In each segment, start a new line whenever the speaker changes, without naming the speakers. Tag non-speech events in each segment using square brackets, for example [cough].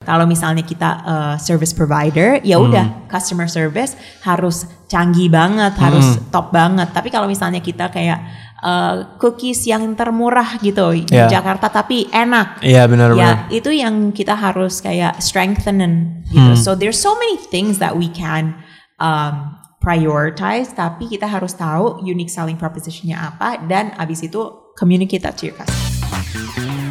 Kalau misalnya kita uh, service provider, ya
Hmm.
udah customer service harus canggih banget, harus
Hmm.
top banget. Tapi kalau misalnya kita kayak uh, cookies yang termurah gitu di
Ya.
Jakarta tapi enak,
Iya benar-benar.
Ya, itu yang kita harus kayak strengthenin
Hmm.
gitu. So there's so many things that we can um, prioritize, tapi kita harus tahu unique selling propositionnya apa dan abis itu communicate that to your customer.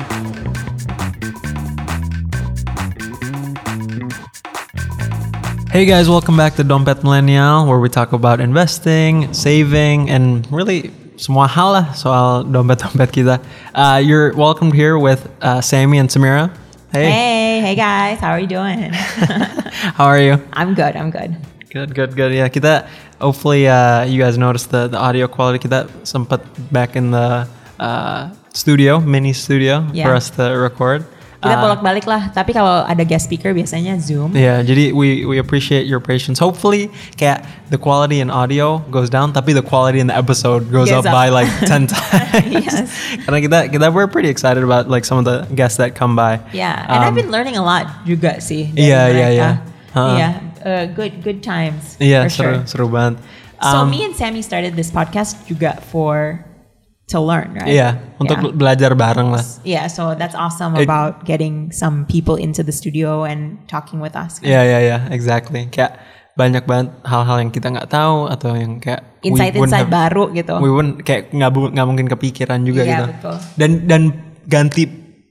Hey guys, welcome back to Dompet Millennial where we talk about investing, saving, and really semua hal lah soal dompet-dompet kita. Uh, you're welcome here with uh, Sammy and Samira. Hey,
Hey, hey guys, how are you doing? [laughs]
how are you?
I'm good, I'm good.
Good, good, good. Yeah, kita hopefully uh, you guys noticed the, the audio quality kita sempat back in the uh, studio, mini studio for
Yeah.
us to record.
Kita
Uh,
bolak-balik lah, tapi kalau ada guest speaker biasanya Zoom.
Yeah, jadi we we appreciate your patience. Hopefully, kayak the quality in audio goes down, tapi the quality in the episode goes
Goes
up,
up. [laughs]
by like 10 times.
Yes.
Karena kita kita we're pretty excited about like some of the guests that come by.
Yeah, and I've
Um,
been learning a lot juga sih dari
Yeah,
mereka.
yeah, yeah. Huh.
Yeah, uh, good good times.
yeah,
for sure.
seru seru banget.
So
Um,
me and Sammy started this podcast juga for to learn, right?
yeah, untuk
yeah.
belajar bareng lah.
Yeah, so that's awesome
It-
about getting some people into the studio and talking with us.
Ya ya ya, exactly. Kayak banyak banget hal-hal yang kita nggak tahu atau yang kayak we wouldn't
Insight-insight
have-
baru gitu.
we wouldn't kayak nggak bu- nggak mungkin kepikiran juga
Iya,
gitu
betul.
dan dan ganti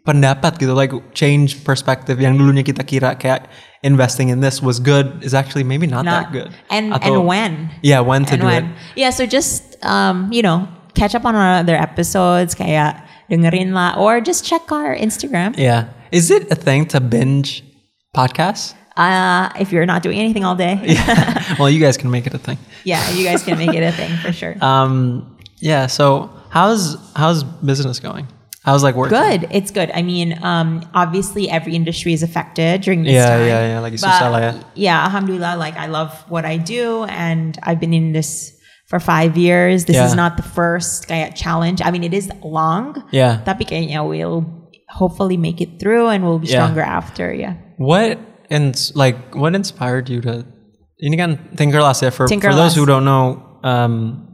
pendapat gitu like change perspective yang dulunya kita kira kayak investing in this was good is actually maybe not,
Not-
that good
And
Atau-
and when?
yeah when to
and
do
when.
it
Yeah, so just um, you know, catch up on our other episodes kayak dengerin lah or just check our Instagram.
yeah is it a thing to binge
[laughs]
podcasts
Uh, if you're not doing anything all
[laughs]
day.
well you guys can make it a thing
[laughs] yeah, you guys can make it a thing for sure.
um yeah so how's how's business going how's like work
good. It's good. I mean, um, obviously every industry is affected during this
Yeah,
time.
yeah, yeah. Lagi
But,
susah lah ya.
Yeah, alhamdulillah. Like I love what I do, and I've been in this for five years. This is
Yeah.
not the first kayak challenge. I mean, it is long.
Yeah.
Tapi kayaknya we'll hopefully make it through, and we'll be
Yeah.
stronger after. Yeah.
What and like what inspired you to ini kan Tinkerlust ya for, for
Tinkerlust.
those who don't know um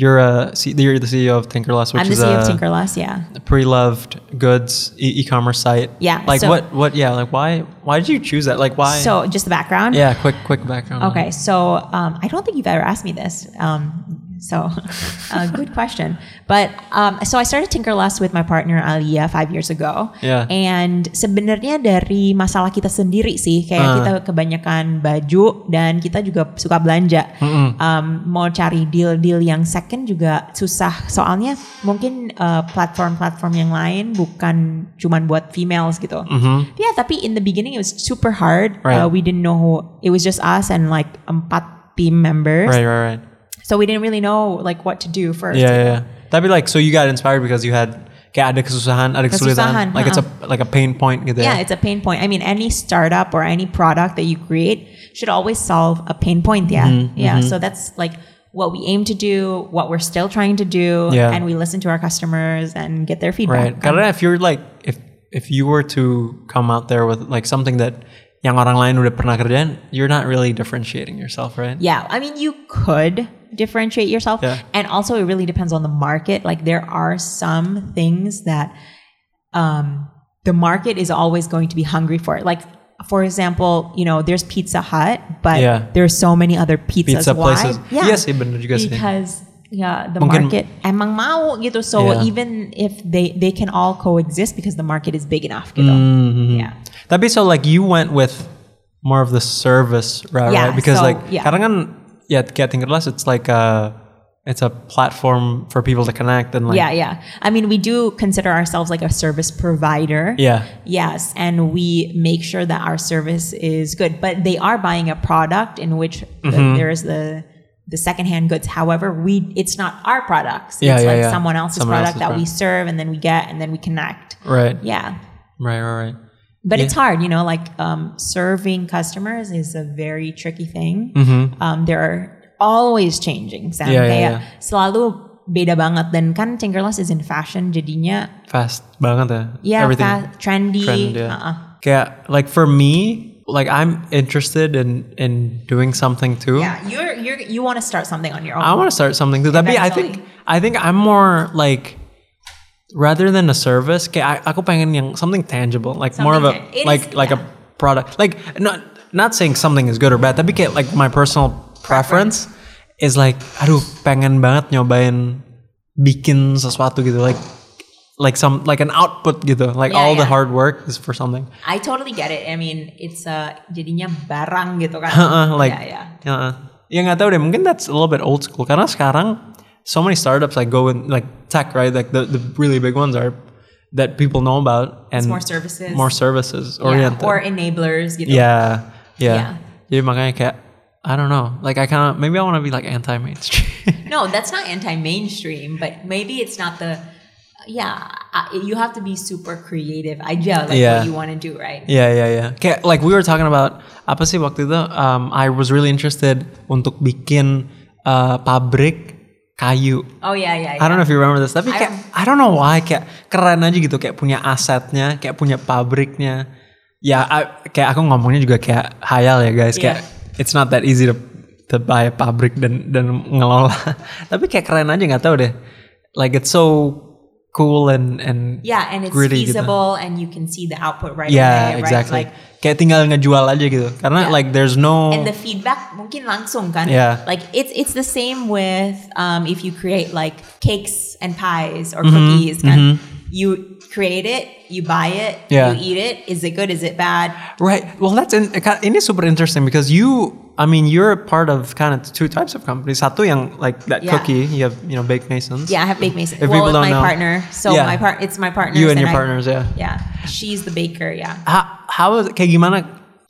you're a C- you're the CEO of Tinkerlust
I'm
which
the
is
CEO
a
of Tinkerless. Yeah.
pre-loved goods e- commerce site.
Yeah,
Like
so-
what what yeah like why why did you choose that like why
So just the background.
yeah quick quick background. on
Okay, so um, I don't think you've ever asked me this. Um, so, [laughs] uh, good question. But um, so I started Tinkerlust with my partner Alia five years ago.
Yeah.
And sebenarnya dari masalah kita sendiri sih, kayak
Ah.
kita kebanyakan baju dan kita juga suka belanja. Um, mau cari deal-deal yang second juga susah. Soalnya mungkin uh, platform-platform yang lain bukan cuman buat females gitu. Yeah, tapi in the beginning it was super hard.
Mm-hmm. Right.
Uh, we didn't know who it was just us and like empat team
it.
members
Right right right.
so we didn't really know like what to do first
Yeah yeah. yeah. That'd be like so you got inspired because you had kayak ada kesusahan ada kesulitan
Kesusahan,
like it's a like a pain point gitu
uh-huh. yeah
ya.
it's a pain point i mean any startup or any product that you create should always solve a pain point yeah
Mm-hmm,
yeah so that's like what we aim to do what we're still trying to do
Yeah.
and we listen to our customers and get their
Right.
feedback
Karena if you're like if if you were to come out there with like something that yang orang lain udah pernah kerjain, you're not really differentiating yourself, right?
Yeah, I mean, you could differentiate yourself.
Yeah.
And also, it really depends on the market. Like, there are some things that um, the market is always going to be hungry for. Like, for example, you know, there's Pizza Hut, but
Yeah.
there's so many other pizzas.
Pizza
Why?
places.
Yeah.
Iya sih, bener juga sih.
Because yeah, the
Mungkin-
market emang mau gitu. So
Yeah.
even if they they can all coexist because the market is big enough gitu.
Mm-hmm.
Yeah.
Tapi so like you went with more of the service route,
Yeah,
right? Because
so,
like
yeah.
karena kan yeah, kayak Tinkerless it's like a it's a platform for people to connect and like
yeah, yeah. I mean, we do consider ourselves like a service provider.
Yeah.
Yes, and we make sure that our service is good, but they are buying a product in which the-
Mm-hmm.
there is the the secondhand goods. However, we it's not our products.
Yeah,
it's
yeah,
like
yeah.
someone else's
Someone
product
else's
that we
product.
serve and then we get and then we connect.
Right.
Yeah.
Right, right, right.
But it's hard, you know, like um, serving customers is a very tricky thing. Um, there are always changing. Sam.
Mm-hmm. Yeah, yeah,
Kayak
yeah.
selalu beda banget dan kan Tinkerlust is in fashion jadinya
Fast banget ya.
ya
Everything.
fa- trendy.
Trend, yeah.
uh-uh.
kayak like for me, like I'm interested in in doing something too.
Yeah, you're you're you want to start something on your own.
I want to start something too. Tapi I think I think I'm more like rather than a service, kayak I- aku pengen yang something tangible, like more of a
Something tang- it
like
is-
like a product. Like not not saying something is good or bad, tapi kayak like my personal preference, is like aduh pengen banget nyobain bikin sesuatu gitu like like some like an output gitu. Like
Yeah,
all the
yeah.
hard work is for something.
I totally get it. I mean, it's uh, jadinya barang gitu kan.
Heeh, Uh-uh, like
yeah, yeah.
heeh. ya nggak tahu deh mungkin that's a little bit old school karena sekarang so many startups like go in like tech right like the, the really big ones are that people know about and
more services.
more services
Yeah,
oriented
or enablers gitu.
yeah yeah.
Yeah.
jadi makanya kayak I don't know like I kind of maybe I want to be like anti mainstream
No, that's not anti-mainstream, but maybe it's not the yeah, I, you have to be super creative aja like
Yeah.
what you want to do, right?
[laughs] Yeah, yeah, yeah. Kayak like we were talking about apa sih waktu itu? Um, I was really interested untuk bikin uh, pabrik kayu.
Oh yeah, yeah. yeah.
I don't know if you remember this, tapi
I
kayak I don't know why kayak keren aja gitu kayak punya asetnya, kayak punya pabriknya. Ya I- kayak aku ngomongnya juga kayak hayal ya guys, kayak it's not that easy to to buy a pabrik dan dan ngelola. [laughs] tapi kayak keren aja nggak tahu deh. Like it's so cool and and
Yeah, and it's
Gritty gitu.
feasible, and you can see the output right
yeah,
away, right?
exactly.
Like,
kayak tinggal ngejual aja gitu. Karena
Yeah.
like there's no
and the feedback mungkin langsung kan?
Oh. Yeah.
Like it's it's the same with um, if you create like cakes and pies
Mm-hmm.
or cookies, kan? You create it, you buy it,
Yeah.
you eat it. Is it good? Is it bad?
Right. Well, that's in, it is super interesting because you, I mean, you're part of kind of two types of companies. Satu yang like that
Yeah.
cookie, you have you know baked masons.
Yeah, I have baked mason.
If
well,
people
with my
don't know.
partner. So
Yeah.
my part, it's my partner.
You and your partners, yeah.
Yeah, she's the baker. Yeah.
How how is kayak gimana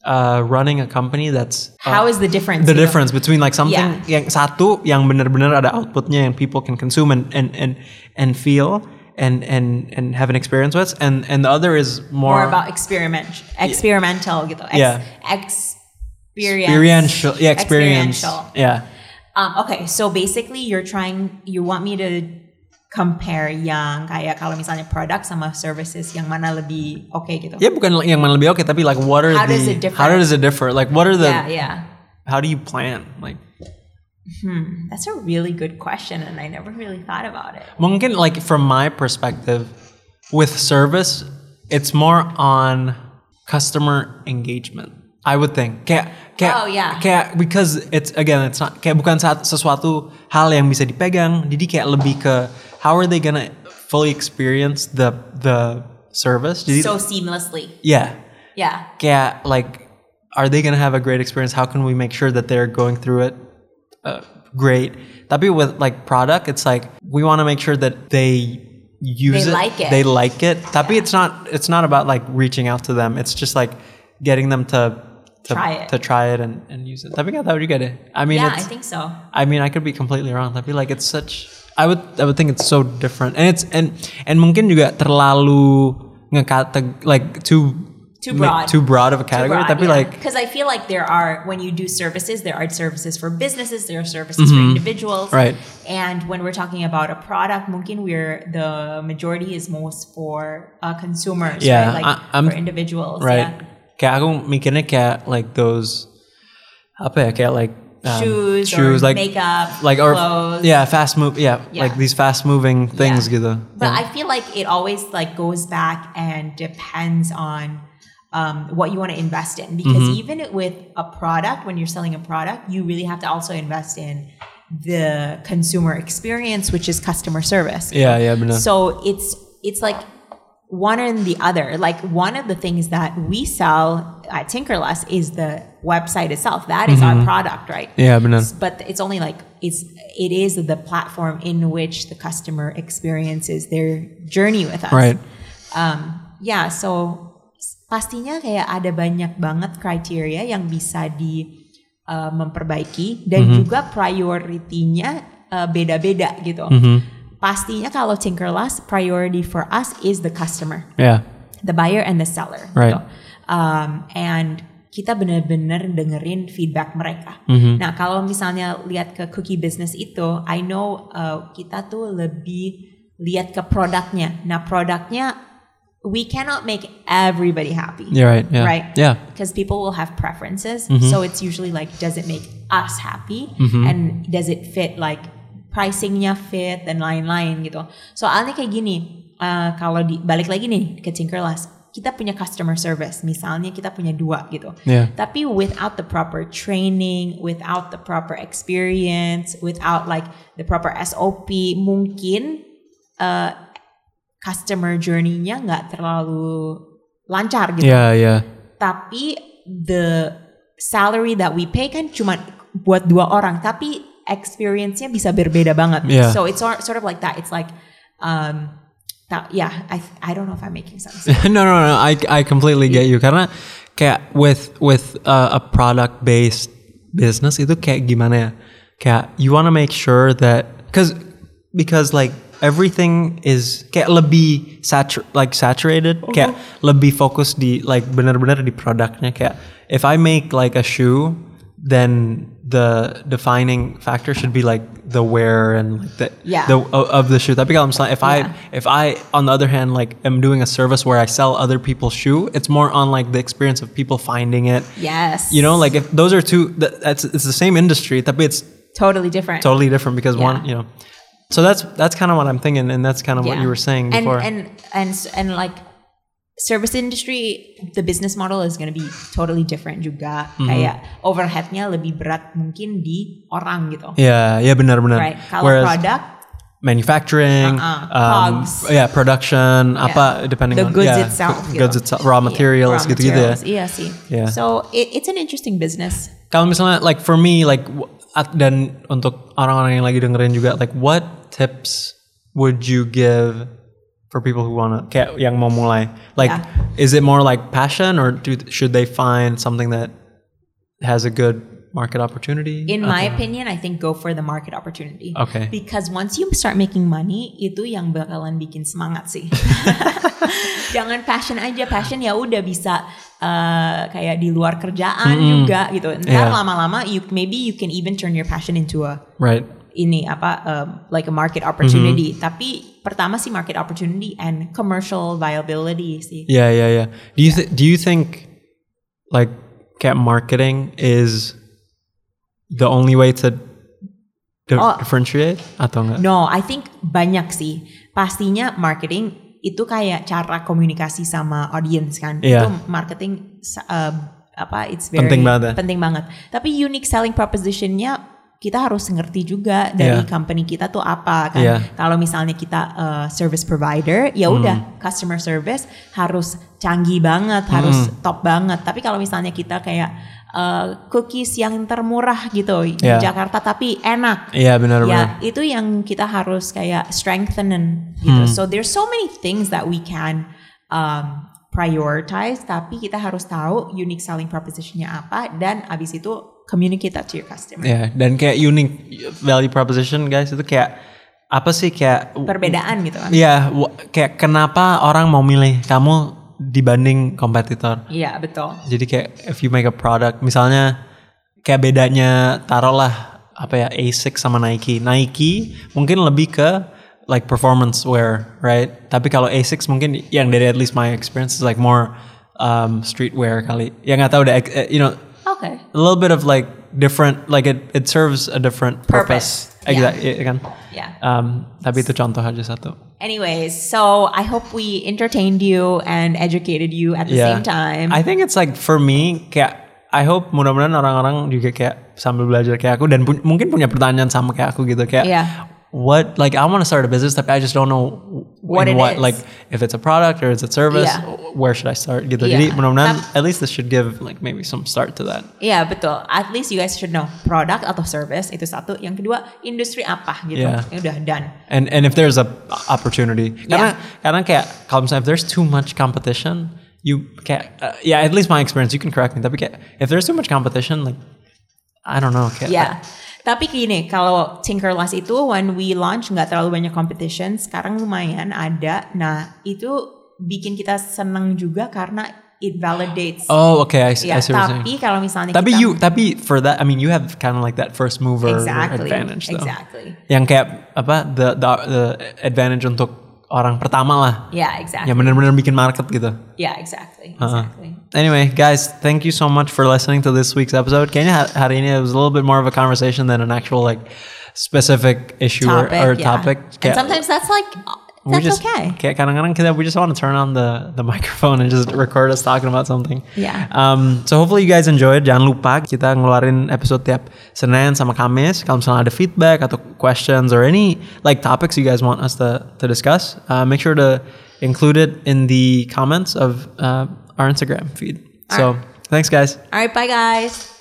uh, running a company that's uh,
How is the difference?
the
you know?
difference between like something
Yeah.
yang satu yang benar-benar ada outputnya yang people can consume and and and and feel and and and have an experience with and and the other is more,
More about experiment, experimental gitu. Ex,
Yeah.
Experience.
experiential yeah experience
Experiential.
yeah
Um, okay, so basically you're trying, you want me to compare yang kayak kalau misalnya product sama services yang mana lebih oke gitu.
yeah bukan yang mana lebih oke tapi like what are
How
the
does it differ?
how does it differ like what are the
Yeah, yeah.
how do you plan like
That's a really good question, and I never really thought about it.
mungkin like from my perspective with service it's more on customer engagement i would think kayak kayak
Oh, yeah.
kayak because it's again it's not kayak bukan saat sesuatu hal yang bisa dipegang jadi kayak lebih ke how are they gonna fully experience the the service jadi
So seamlessly.
yeah
Yeah.
kayak like are they gonna have a great experience how can we make sure that they're going through it uh, great tapi with like product it's like we want to make sure that they
They
use it,
like it.
they like it tapi it's not it's not about like reaching out to them it's just like getting them to to
Try it.
to try it and, and use it tapi nggak tahu juga deh I mean
Yeah, I
it's,
think so.
I mean, I could be completely wrong, tapi like it's such. I would I would think it's so different, and it's and and mungkin juga terlalu ngekate like too
Too broad.
too broad of a category. tapi like
because I feel like there are when you do services, there are services for businesses, there are services for individuals,
Mm-hmm. Right.
And when we're talking about a product, mungkin we're the majority is most for uh, consumers,
Yeah,
right? Like
I-
for
I'm-
individuals,
right,
yeah.
kayak aku mikirnya kayak like those apa ya kayak like um,
Shoes, or
like
makeup,
like or
clothes.
yeah fast move yeah,
Yeah.
like these fast moving things
Yeah.
gitu.
But
Yeah.
I feel like it always like goes back and depends on um, what you want to invest in because
Mm-hmm.
even with a product, when you're selling a product, you really have to also invest in the consumer experience, which is customer service.
yeah yeah benar.
So it's it's like one and the other. Like one of the things that we sell at Tinkerlust is the website itself. That is our product, right?
Mm-hmm. yeah benar.
But it's only like it's it is the platform in which the customer experiences their journey with us.
Right.
Yeah, so s- pastinya kayak ada banyak banget criteria yang bisa di uh, memperbaiki dan juga prioritinya uh, beda-beda gitu. Pastinya kalau Tinkerlust priority for us is the customer,
Yeah.
the buyer and the seller.
Right.
gitu. Um, and kita benar-benar dengerin feedback mereka. Nah, kalau misalnya lihat ke cookie business itu, I know uh, kita tuh lebih lihat ke produknya. Nah, produknya we cannot make everybody happy.
You're right. Yeah.
Right.
Yeah.
Because people will have preferences. So it's usually like, does it make us happy? And does it fit like pricingnya fit dan lain-lain gitu. Soalnya kayak gini, eh, kalau di balik lagi nih ke Tinkerless, kita punya customer service. Misalnya kita punya dua gitu.
Yeah.
Tapi without the proper training, without the proper experience, without like the proper SOP, mungkin eh, customer journey-nya nggak terlalu lancar gitu.
Yeah. Yeah.
Tapi the salary that we pay kan cuma buat dua orang, tapi experience-nya bisa berbeda banget.
Yeah.
So it's sor- sort of like that. It's like, um, that, yeah, I I don't know if I'm making sense.
[laughs] no, no, no. I, I completely get you. Karena kayak with with uh, a product based business itu kayak gimana ya? Kayak you wanna make sure that because because like everything is kayak lebih satur like saturated kayak lebih fokus di like benar-benar di produknya kayak if I make like a shoe then the defining factor should be like the wear and like the
Yeah.
the of, of the shoe. Tapi kalau misalnya if I if I on the other hand like am doing a service where I sell other people's shoe, it's more on like the experience of people finding it.
yes.
You know, like if those are two that, that's it's the same industry, tapi it's
totally different.
totally different because one,
Yeah.
you know. So that's that's kind of what I'm thinking and that's kind of what
Yeah.
you were saying
and,
before.
And and s- and like service industry, the business model is going to be totally different juga.
Mm-hmm.
Kayak overheadnya lebih berat mungkin di orang gitu.
yeah, yeah, benar-benar.
Right? Kalau
Whereas
product,
manufacturing,
Uh-uh.
um,
Cogs.
yeah, production, apa depending
the
on
goods
yeah,
itself,
go-
gitu.
goods itself, raw materials,
Iya, raw
gitu-gitu ya.
materials, Iya sih.
Yeah.
So it- it's an interesting business.
Kalau misalnya like for me like w- at- dan untuk orang-orang yang lagi dengerin juga like what tips would you give for people who wanna kayak yang mau mulai like
Yeah.
is it more like passion or do, should they find something that has a good market opportunity?
In my opinion, I think go for the market opportunity.
Okay.
Because once you start making money, itu yang bakalan bikin semangat
[laughs]
sih. Jangan passion aja, passion ya udah bisa uh, kayak di luar kerjaan juga gitu. Ntar
Yeah.
lama-lama, you maybe you can even turn your passion into a
right.
ini apa um, like a market opportunity.
Mm-hmm.
Tapi pertama sih market opportunity and commercial viability sih.
Yeah, yeah, yeah. Do you th- do you think like cat marketing is the only way to di-
Oh.
differentiate atau enggak?
No, I think banyak sih. Pastinya marketing itu kayak cara komunikasi sama audience kan.
Iya.
Itu marketing sa- uh, apa it's very
Penting banget ya.
penting banget. Tapi unique selling propositionnya kita harus ngerti juga dari
Iya.
company kita tuh apa kan.
Iya. Hmm.
Kalau misalnya kita uh, service provider, ya udah customer service harus canggih banget,
Hmm.
harus top banget. Tapi kalau misalnya kita kayak uh, cookies yang termurah gitu di
Iya.
Jakarta tapi enak,
Iya, benar benar.
Ya, itu yang kita harus kayak strengthen and gitu.
Hmm.
So there's so many things that we can um, prioritize, tapi kita harus tahu unique selling propositionnya apa dan abis itu communicate that to your customer.
Ya, dan kayak unique value proposition guys itu kayak apa sih kayak
Perbedaan gitu kan? Iya,
Iya, w- kayak kenapa orang mau milih kamu dibanding kompetitor.
Iya, betul.
Jadi kayak if you make a product misalnya kayak bedanya taruhlah apa ya Asics sama Nike. Nike mungkin lebih ke like performance wear, right? Tapi kalau Asics mungkin yang dari at least my experience is like more um, streetwear kali. Ya nggak tahu deh, eh, you know
Oke.
a little bit of like different like it it serves a different purpose,
Purpose.
exactly kan
Yeah.
um, tapi itu contoh aja satu
Anyways, so I hope we entertained you and educated you at the same time.
I think it's like for me kayak I hope mudah-mudahan orang-orang juga kayak sambil belajar kayak aku dan pu- mungkin punya pertanyaan sama kayak aku gitu kayak
Yeah.
what like I want to start a business tapi I just don't know
What
in
it is.
what like if it's a product or is it service
Yeah.
where should I start gitu
Yeah.
jadi mudah-mudahan
Tapi-
at least this should give like maybe some start to that
Iya betul. At least you guys should know product atau service itu satu. Yang kedua industri apa gitu.
Yeah.
Ya udah done.
and and if there's a opportunity karena
Yeah.
karena kayak kalau misalnya if there's too much competition you kayak uh, yeah at least my experience you can correct me tapi kayak if there's too much competition like I don't know kayak
Ya. [laughs] Tapi gini, kalau Tinkerless itu when we launch nggak terlalu banyak competition, sekarang lumayan ada. Nah, itu bikin kita seneng juga karena it validates.
oh okay I, see
Ya,
I see what you're saying
tapi kalau misalnya
tapi
kita
you tapi for that I mean you have kind of like that first
[laughs]
mover
exactly,
advantage though
exactly.
yang kayak apa the the, the advantage untuk orang pertama lah
Yeah, Ya, exactly.
yang benar-benar bikin market gitu.
Yeah, exactly.
Uh-huh.
Exactly.
Anyway, guys, thank you so much for listening to this week's episode. Kayaknya ha- hari ini it was a little bit more of a conversation than an actual like specific issue or-
Topic,
or,
yeah.
topic.
And
Kayak-
sometimes that's like uh,
we
that's
just,
okay.
Kayak kadang-kadang kita we just want to turn on the the microphone and just record us talking about something.
Yeah.
Um, so hopefully you guys enjoyed. Jangan lupa kita ngeluarin episode tiap Senin sama Kamis. Kalau misalnya ada feedback atau questions or any like topics you guys want us to to discuss, uh, make sure to include it in the comments of uh, our Instagram feed. So thanks guys.
All right, bye guys.